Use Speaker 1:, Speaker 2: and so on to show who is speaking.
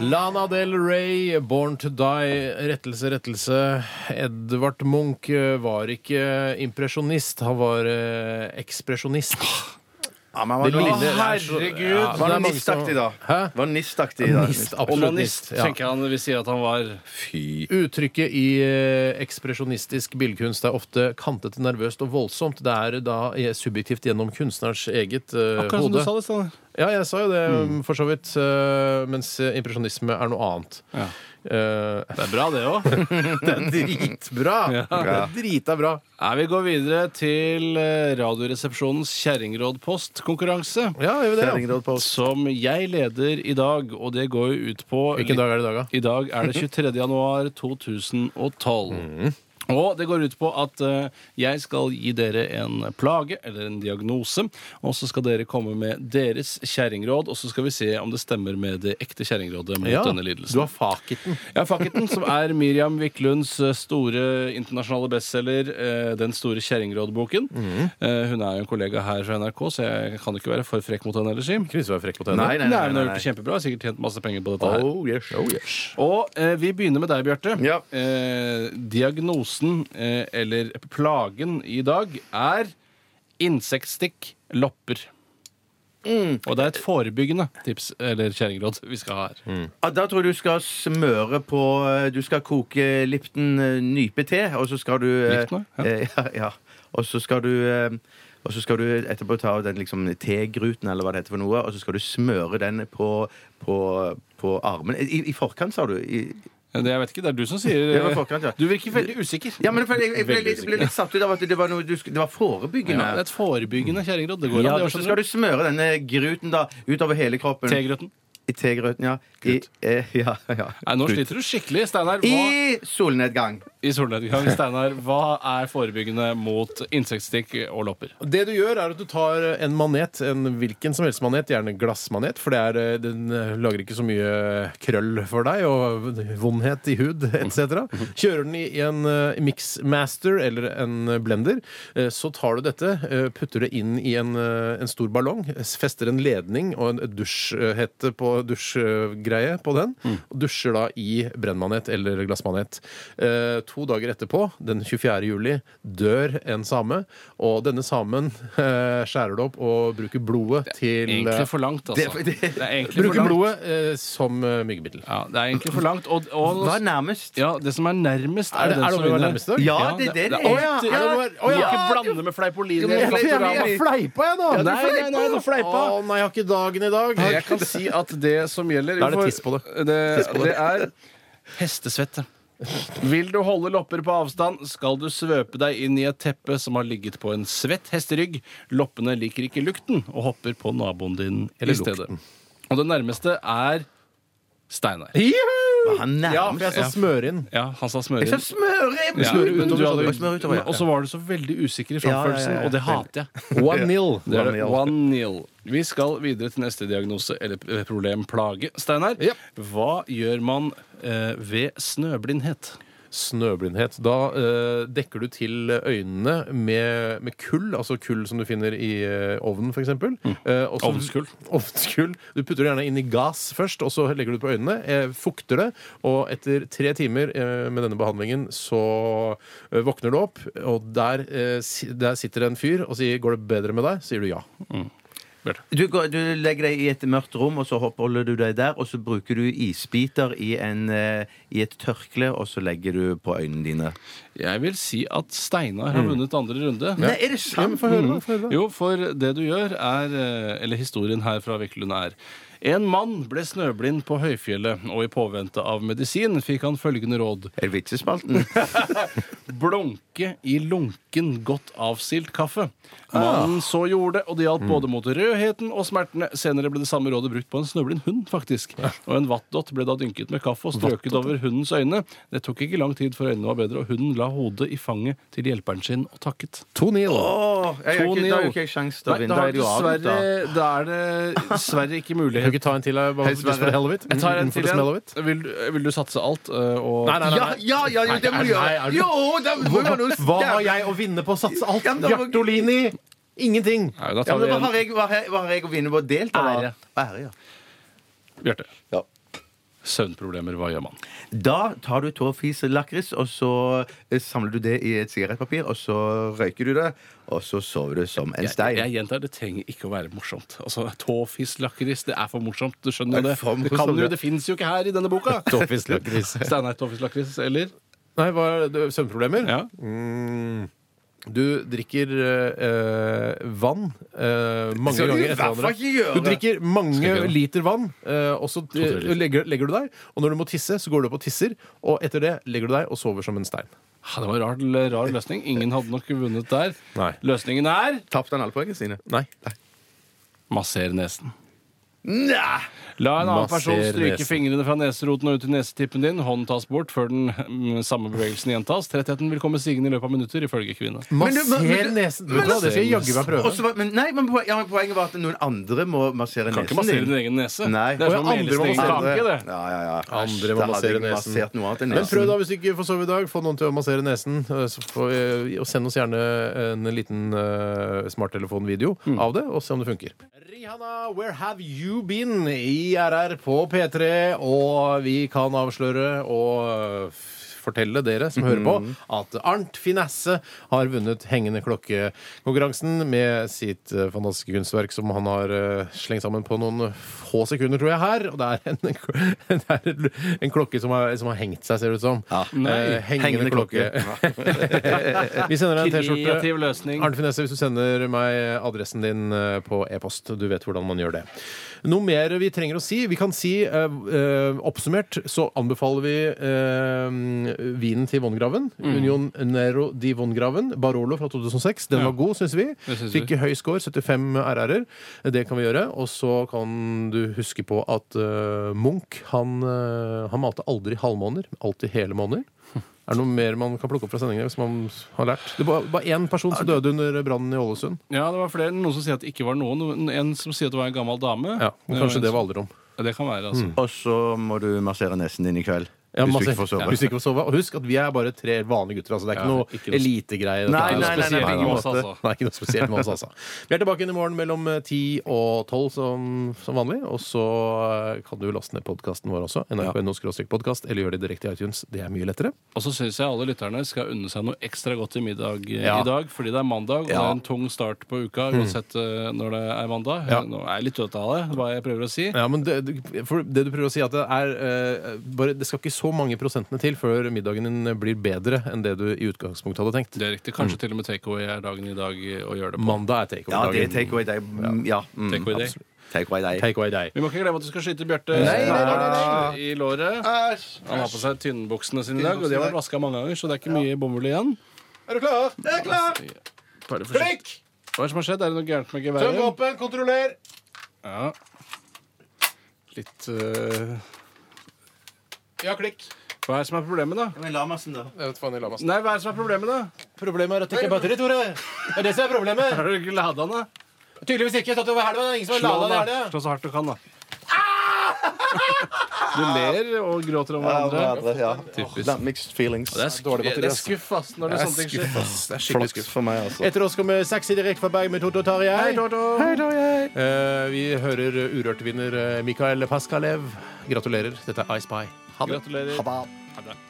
Speaker 1: Lana Del Rey, 'Born to Die', rettelse, rettelse. Edvard Munch eh, var ikke impresjonist, han var eh, ekspresjonist.
Speaker 2: Ja, men han
Speaker 1: Det
Speaker 2: var
Speaker 1: ligner-
Speaker 2: noe-
Speaker 1: det er så-
Speaker 3: herregud.
Speaker 1: Ja, det er
Speaker 2: Var han
Speaker 1: mange som-
Speaker 2: nistaktig, da?
Speaker 1: Hæ?
Speaker 2: Var han nistaktig, da?
Speaker 1: Nist, absolutt
Speaker 3: Onanist,
Speaker 1: nist. Ja.
Speaker 3: tenker jeg han vil si at han var.
Speaker 2: Fy
Speaker 1: Uttrykket i eh, ekspresjonistisk billedkunst er ofte kantet, nervøst og voldsomt. Det er da eh, subjektivt gjennom kunstnerens eget eh,
Speaker 3: Akkurat som du
Speaker 1: hode.
Speaker 3: sa det, Mm. Steinar.
Speaker 1: Ja, jeg sa jo det, mm, for så vidt. eh, mens impresjonisme er noe annet.
Speaker 3: Ja.
Speaker 1: Eh,
Speaker 3: Det er bra, det òg.
Speaker 1: det er dritbra! Det er drita bra.
Speaker 3: Nei, Vi går videre til eh, Radioresepsjonens kjerringrådpostkonkurranse.
Speaker 1: Ja, gjør vi det? ja.
Speaker 2: Kjerringråd på oss.
Speaker 3: Som jeg leder i dag, og det går jo ut på
Speaker 1: Hvilken dag er det i dag, da?
Speaker 3: I dag er det 23. januar 2012. Og det går ut på at eh, jeg skal gi dere en plage eller en diagnose, og så skal dere komme med deres kjerringråd, og så skal vi se om det stemmer med det ekte kjerringrådet mot
Speaker 1: Ja,
Speaker 3: denne lidelsen.
Speaker 1: Du har fakiten.
Speaker 3: Ja, Faketen, som er Miriam Wiklunds eh, store internasjonale bestselger, eh, Den store kjerringrådboken. Eh, Hun er jo en kollega her fra NRK, så jeg kan ikke være for frekk mot henne ellers. Jim.
Speaker 1: Kunne ikke være frekk mot
Speaker 2: Nei,
Speaker 1: henne.
Speaker 2: nei,
Speaker 3: Nei,
Speaker 2: nei.
Speaker 3: hun
Speaker 2: nei,
Speaker 3: har gjort det
Speaker 2: nei.
Speaker 3: kjempebra. Sikkert tjent masse penger på dette her.
Speaker 2: Oh, yes.
Speaker 1: Oh, yes.
Speaker 3: Og eh, vi begynner med deg, Bjarte.
Speaker 2: Ja.
Speaker 3: Eh, diagnosen, eh, eller plagen, i dag er insektstikk, lopper.
Speaker 2: Mm.
Speaker 3: Og det er et forebyggende tips eller kjerringråd vi skal ha her.
Speaker 2: Ja, Da tror jeg du skal smøre på eh, Du skal koke Lipton eh, nypete, og så skal du eh,
Speaker 3: Lipton, ja.
Speaker 2: eh, ja, ja. Og så skal du eh, og så skal du etterpå ta av den liksom tegruten, eller hva det heter for noe, og så skal du smøre den på, på, på armen. I, I forkant, sa du? I,
Speaker 3: Ja, Det, jeg vet ikke, det er du som sier eh,
Speaker 2: Det var forkant, ja.
Speaker 3: Du virker veldig usikker.
Speaker 2: ja, men for jeg, jeg, ble
Speaker 3: Veldig
Speaker 2: litt-
Speaker 3: usikker.
Speaker 2: ble litt satt ut av at det var, noe, du, sk- det var
Speaker 3: Ja, det
Speaker 2: forebyggende.
Speaker 3: er et forebyggende kjerringråd. Det sånn- går
Speaker 2: Ja,
Speaker 3: an, det
Speaker 2: og
Speaker 3: også,
Speaker 2: så skal
Speaker 3: skjønner
Speaker 2: du smøre denne gruten da utover hele kroppen.
Speaker 3: du. Tegrøten.
Speaker 2: I tegrøten, ja. I, eh, ja, ja.
Speaker 3: Nei, nå sliter du skikkelig, Steinar. Hva,
Speaker 2: I solnedgang.
Speaker 3: I solnedgang, Steinar, hva er forebyggende mot insektstikk og lopper?
Speaker 1: Det du gjør, er at du tar en manet, en hvilken som helst manet, gjerne glassmanet, for det er, eh, den eh, lager ikke så mye eh, krøll for deg og vondhet i hud etc. Kjører den i en eh, mixmaster eller en blender, eh, så tar du dette, eh, putter det inn i en, eh, en stor ballong, s- fester en ledning og en dusjhette på dusjgreie på den,
Speaker 3: Mm.
Speaker 1: og dusjer da i brennmanet eller glassmanet. Eh, To dager etterpå, den 24. juli, dør en same, og denne samen eh, skjærer det opp og bruker blodet til eh,
Speaker 3: Egentlig for langt, altså.
Speaker 2: det- det-
Speaker 3: er egentlig for
Speaker 1: Bruker
Speaker 3: langt.
Speaker 1: blodet eh, som eh, myggemiddel.
Speaker 3: Ja, det er egentlig for langt. Og, og
Speaker 2: Hva er nærmest?
Speaker 3: ja, det som er nærmest,
Speaker 1: Er det-
Speaker 3: den
Speaker 1: er det vi var
Speaker 3: som vinner.
Speaker 1: nærmest i dag?
Speaker 2: Ja, det er det det
Speaker 3: Å
Speaker 2: er.
Speaker 1: Ja,
Speaker 3: ja, er det-
Speaker 1: å ja.
Speaker 3: Du må ikke blande med fleipolini.
Speaker 2: Jo, men-
Speaker 3: Jeg,
Speaker 2: jeg- jeg-
Speaker 1: fleipa jeg nå!
Speaker 3: Ja, du Nei, nei, nei, du fleipa.
Speaker 1: Å nei, jeg har ikke dagen i dag.
Speaker 3: jeg kan si at det som gjelder
Speaker 1: Da er det tiss på det.
Speaker 3: det er hestesvette. Vil du holde lopper på avstand, skal du svøpe deg inn i et teppe som har ligget på en svett hesterygg. Loppene liker ikke lukten og hopper på naboen din i
Speaker 1: Eller
Speaker 3: stedet.
Speaker 1: lukten.
Speaker 3: Og det nærmeste er Steinar.
Speaker 1: Juhu!
Speaker 2: Han
Speaker 1: Ja, for jeg
Speaker 2: nærmest.
Speaker 1: sa smøre inn.
Speaker 3: Ja, han sa smøre
Speaker 2: Jeg sa
Speaker 3: inn.
Speaker 2: smøre inn!
Speaker 3: Ja,
Speaker 2: Smøre
Speaker 3: men du
Speaker 2: utover.
Speaker 3: hadde-
Speaker 2: Og smøre utover, ja.
Speaker 3: Og så var du så veldig usikker i
Speaker 2: Ja,
Speaker 3: framførelsen,
Speaker 2: ja, ja, ja.
Speaker 3: og det hater jeg.
Speaker 1: One nil.
Speaker 3: Det er
Speaker 2: One
Speaker 3: det.
Speaker 2: nil.
Speaker 3: One nil. Vi skal videre til neste diagnose eller p- problem plage. Steinar,
Speaker 1: Yep.
Speaker 3: hva gjør man eh, ved snøblindhet?
Speaker 1: Snøblindhet. Da eh, dekker du til øynene med, med kull, altså kull som du finner i eh, ovnen, f.eks. Uh,
Speaker 3: Mm. Ovnskull.
Speaker 1: ovnskull. Du putter det gjerne inn i gass først, og så legger du det på øynene. eh, fukter det, og etter tre timer eh, med denne behandlingen så eh, våkner du opp, og der, eh, si- der sitter det en fyr og sier 'Går det bedre med deg?' sier du ja.
Speaker 2: Du, går, du legger deg i et mørkt rom, og så oppholder du deg der. Og så bruker du isbiter i, en, eh, i et tørkle, og så legger du på øynene dine.
Speaker 3: Jeg vil si at Steinar har vunnet andre runde.
Speaker 2: Nei, er det
Speaker 1: ja men
Speaker 2: sant?
Speaker 1: få høre, da. Få høre, da.
Speaker 3: Jo, for det du gjør er eh, Eller historien her fra Viklund er En mann ble snøblind på høyfjellet, og i påvente av medisin fikk han følgende råd.
Speaker 2: Er det vitsespalten?
Speaker 3: Blunke i lunken, godt avsilt kaffe.
Speaker 2: Ah.
Speaker 3: Mannen så gjorde det, og det hjalp både mot rødheten og smertene. Senere ble det samme rådet brukt på en snøblind hund, faktisk. Og en vattdott ble da dynket med kaffe og strøket over hundens øyne. Det tok ikke lang tid før øynene var bedre, og hunden la hodet i fanget til hjelperen sin og takket.
Speaker 1: To nil.
Speaker 2: Åh, jeg har ikke, da har jo ikke jeg sjans til å
Speaker 3: Nei,
Speaker 2: vinne. Da
Speaker 3: har
Speaker 2: er det jo avgjort,
Speaker 3: dessverre,
Speaker 2: da.
Speaker 3: da er det dessverre ikke
Speaker 1: Kan du
Speaker 3: mulighet.
Speaker 1: ikke ta en til? eh, Bare,
Speaker 2: Hei,
Speaker 1: just for
Speaker 2: Sverre.
Speaker 1: the hell of it?
Speaker 3: Jeg tar en
Speaker 1: For
Speaker 3: til.
Speaker 1: the smell of
Speaker 3: igjen.
Speaker 1: it?
Speaker 3: Vil, du- vil du satse alt? eh, Og
Speaker 1: Nei, nei, nei.
Speaker 2: Ja,
Speaker 1: nei.
Speaker 2: ja, ja, jo, det må du
Speaker 1: Nei,
Speaker 2: gjøre.
Speaker 1: er du-
Speaker 2: Jo, da må man jo
Speaker 1: Hva har jeg å vinne på å satse alt?
Speaker 2: Ja, men da må-
Speaker 1: Bjarte Olini! Ingenting!
Speaker 3: Nei, da
Speaker 2: Ja,
Speaker 3: tar
Speaker 2: men
Speaker 3: vi
Speaker 2: hva
Speaker 3: en
Speaker 2: har jeg, hva har jeg, hva har jeg å vinne på å delta? da?
Speaker 3: Ære.
Speaker 2: Ære ja.
Speaker 3: Bjarte.
Speaker 2: Ja.
Speaker 3: søvnproblemer, hva gjør man?
Speaker 2: Da tar du tåfislakris, og så eh, samler du det i et sigarettpapir, og så røyker du det, og så sover du som en
Speaker 3: Jeg,
Speaker 2: stein.
Speaker 3: jeg gjentar, det trenger ikke å være morsomt. Altså, Tåfis lakris, det er for morsomt. Du skjønner jo
Speaker 2: Det er
Speaker 3: det.
Speaker 2: for
Speaker 3: Det kan
Speaker 2: morsomt,
Speaker 3: jo,
Speaker 2: ja.
Speaker 3: det fins jo ikke her i denne boka!
Speaker 1: Tåfis lakris.
Speaker 3: Steinar Tåfis lakris, eller?
Speaker 1: Nei, hva er det? Søvnproblemer?
Speaker 3: Ja.
Speaker 1: Mm. Du drikker eh, vann eh, mange
Speaker 2: skal du i
Speaker 1: ganger etter
Speaker 2: hvert fall
Speaker 1: hverandre.
Speaker 2: ikke gjøre.
Speaker 1: Du drikker mange
Speaker 3: gjøre det.
Speaker 1: liter vann, eh, og så eh,
Speaker 3: liter.
Speaker 1: legger, legger du deg. Og når du må tisse, så går du opp og tisser, og etter det legger du deg og sover som en stein.
Speaker 3: Ah, Det var en rar, rar løsning. Ingen hadde nok vunnet der.
Speaker 1: Nei.
Speaker 3: Løsningen er
Speaker 2: Tapte han alle poengene sine?
Speaker 1: Nei.
Speaker 3: masser nesen.
Speaker 2: Nei!
Speaker 3: La en annen
Speaker 1: Masser
Speaker 3: person stryke
Speaker 1: nesen.
Speaker 3: fingrene fra neseroten og ut til nesetippen din. Hånden tas bort før den mm, samme bevegelsen gjentas. Trettheten vil komme sigende i løpet av minutter, ifølge kvinne.
Speaker 2: Men du- men-
Speaker 1: Masser
Speaker 2: men-
Speaker 1: nesen.
Speaker 2: men-
Speaker 1: Vet du hva, det skal jeg jaggu meg
Speaker 2: Og
Speaker 1: prøve.
Speaker 2: så var- Men, nei, men, poen- ja, men poenget var at noen andre må massere
Speaker 3: Kan ikke
Speaker 2: nesen
Speaker 3: massere din egen nese.
Speaker 2: Nei.
Speaker 3: Det er
Speaker 1: Å,
Speaker 3: som
Speaker 1: ja,
Speaker 3: å
Speaker 1: andre
Speaker 3: mele
Speaker 1: må
Speaker 3: sin egen
Speaker 1: massere.
Speaker 3: kake, det.
Speaker 2: Ja, ja, ja.
Speaker 1: Andre
Speaker 2: Da
Speaker 1: må
Speaker 2: hadde
Speaker 1: massere
Speaker 2: jeg
Speaker 1: nesen.
Speaker 2: massert noe annet enn
Speaker 1: Men prøv,
Speaker 2: nesen.
Speaker 1: da, hvis du ikke får sove i dag. Få noen til å massere nesen. eh, Så får, eh, og send oss gjerne en liten eh, smarttelefonvideo av det, og se om det funker. Rihanna, where have you been? I RR på P3, og vi kan avsløre og eh, fortelle dere som hører på, at Arnt Finesse har vunnet Hengende klokke-konkurransen med sitt eh, fantastiske kunstverk som han har eh, slengt sammen på noen få sekunder, tror jeg, her. Og det er en, det er en- en klokke som har, som har hengt seg, ser det ut som. Eh, hengende,
Speaker 2: Hengende
Speaker 1: klokke.
Speaker 2: klokke.
Speaker 1: vi sender deg en
Speaker 3: Kreativ
Speaker 1: T-skjorte.
Speaker 3: løsning.
Speaker 1: Arne Finesse, hvis du sender meg adressen din eh, på e-post. Du vet hvordan man gjør det. Noe mer vi trenger å si? Vi kan si eh, eh, Oppsummert så anbefaler vi eh, vinen til Von Graven. Union Nero di Von Graven. Barolo fra 2006. Den
Speaker 3: Ja.
Speaker 1: var god, syns vi.
Speaker 3: Det synes vi.
Speaker 1: Fikk høy score, 75 RR-er. Det kan vi gjøre. Og så kan du huske på at eh, Munch han, eh, han malte aldri halvmåner, alltid hele måneder. Er det noe mer man kan plukke opp fra sendingen? som man har lært? Det var bare én person som døde under brannen i Ålesund.
Speaker 3: Ja, det var flere. Noen som sier at det ikke var noen. Noen- En som sier at det var en gammel dame.
Speaker 1: Ja, men Kanskje
Speaker 3: en
Speaker 1: det var Mm.
Speaker 3: som-
Speaker 1: alderdom.
Speaker 3: Ja, Det kan være, altså.
Speaker 2: Og så må du massere nesen din i kveld.
Speaker 1: Ja,
Speaker 2: hvis
Speaker 1: masse-
Speaker 2: du ikke får sove.
Speaker 1: Hvis du ikke får sove. Og husk at vi er bare tre vanlige gutter. altså Det er ikke
Speaker 3: Ja,
Speaker 1: noe
Speaker 3: ikke noe-
Speaker 1: elitegreie. dette
Speaker 2: Nei,
Speaker 1: her.
Speaker 3: Noe
Speaker 2: nei, nei,
Speaker 3: spesielt
Speaker 2: nei, nei,
Speaker 3: i
Speaker 2: nei.
Speaker 3: oss, altså.
Speaker 1: Nei, ikke noe spesielt med oss, altså. Vi er tilbake igjen i morgen mellom 10 og 12 som, som vanlig. Og så eh, kan du laste ned podkasten vår også. nrk.no-podkast, eller gjør det direkte i iTunes. Det er mye lettere.
Speaker 3: Og så syns jeg alle lytterne skal unne seg noe ekstra godt til middag eh,
Speaker 1: Ja. Mm.
Speaker 3: i dag, fordi det er mandag, og det er en tung start på uka uansett eh, når det er mandag.
Speaker 1: Ja.
Speaker 3: Nå er jeg litt ute av det, hva jeg prøver å si.
Speaker 1: Ja, men det, du- for det du prøver å si, er at det er eh, bare, Det skal ikke så mange prosentene til før middagen din blir bedre enn det du i utgangspunktet hadde tenkt.
Speaker 3: Det er riktig.
Speaker 1: Mm.
Speaker 3: Kanskje til og med takeaway er dagen i dag eh, å gjøre det på.
Speaker 1: Mandag er
Speaker 2: Ja, det er
Speaker 1: takeaway-dagen.
Speaker 2: take away day. Mm, Ja. mm,
Speaker 3: Take away day.
Speaker 2: absolutt. Take away day.
Speaker 1: Takeaway day.
Speaker 3: Vi må ikke glemme at du skal skyte Bjarte i låret.
Speaker 2: Æsj!
Speaker 3: Han har på seg tynnbuksene sine i dag, og de har vært vaska mange ganger, så det er ikke mye bomull igjen.
Speaker 1: Er du klar?
Speaker 2: Det er klart!
Speaker 3: Bare forsiktig. Hva er det som har skjedd? Er det noe gærent med geværet?
Speaker 1: våpen! Kontroller!
Speaker 3: Ja. Litt eh,
Speaker 1: Ja, klikk.
Speaker 3: Hva er det som er problemet, da?
Speaker 2: Men Lamassen, da?
Speaker 1: Jeg vet faen i lamassen.
Speaker 3: Nei, hva er det som er problemet, da?
Speaker 1: Problemet er at det ikke er batteri, Tore. Det er det som er problemet.
Speaker 3: Er du ikke lada den, da?
Speaker 1: Tydeligvis ikke. Tatt over helga. Det er ingen som har
Speaker 3: Slå
Speaker 1: lada
Speaker 3: den,
Speaker 1: det
Speaker 3: da.
Speaker 1: helga.
Speaker 3: Slå så hardt du kan, da. Du ler og gråter om hverandre.
Speaker 2: Ja.
Speaker 3: Typisk.
Speaker 2: That mixed feelings.
Speaker 3: Det er, skuff,
Speaker 1: Dårlig batteri,
Speaker 3: det er skuff, ass, når det er sånne ting skjer.
Speaker 1: Det er
Speaker 2: Flaks for meg, altså.
Speaker 1: Etter oss kommer Sexy direkte fra Berg med Toto og Tarjei.
Speaker 3: Hei,
Speaker 1: Eh, vi hører Urørt-vinner Mikael Paskalev. Gratulerer. Dette er I Spy. Ha det.
Speaker 3: Gratulerer.
Speaker 2: Ha det.
Speaker 3: Ha det.